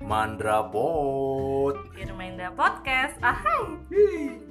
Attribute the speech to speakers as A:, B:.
A: Mandra Bot.
B: Irmaindra Podcast. Ahai.
A: Hii.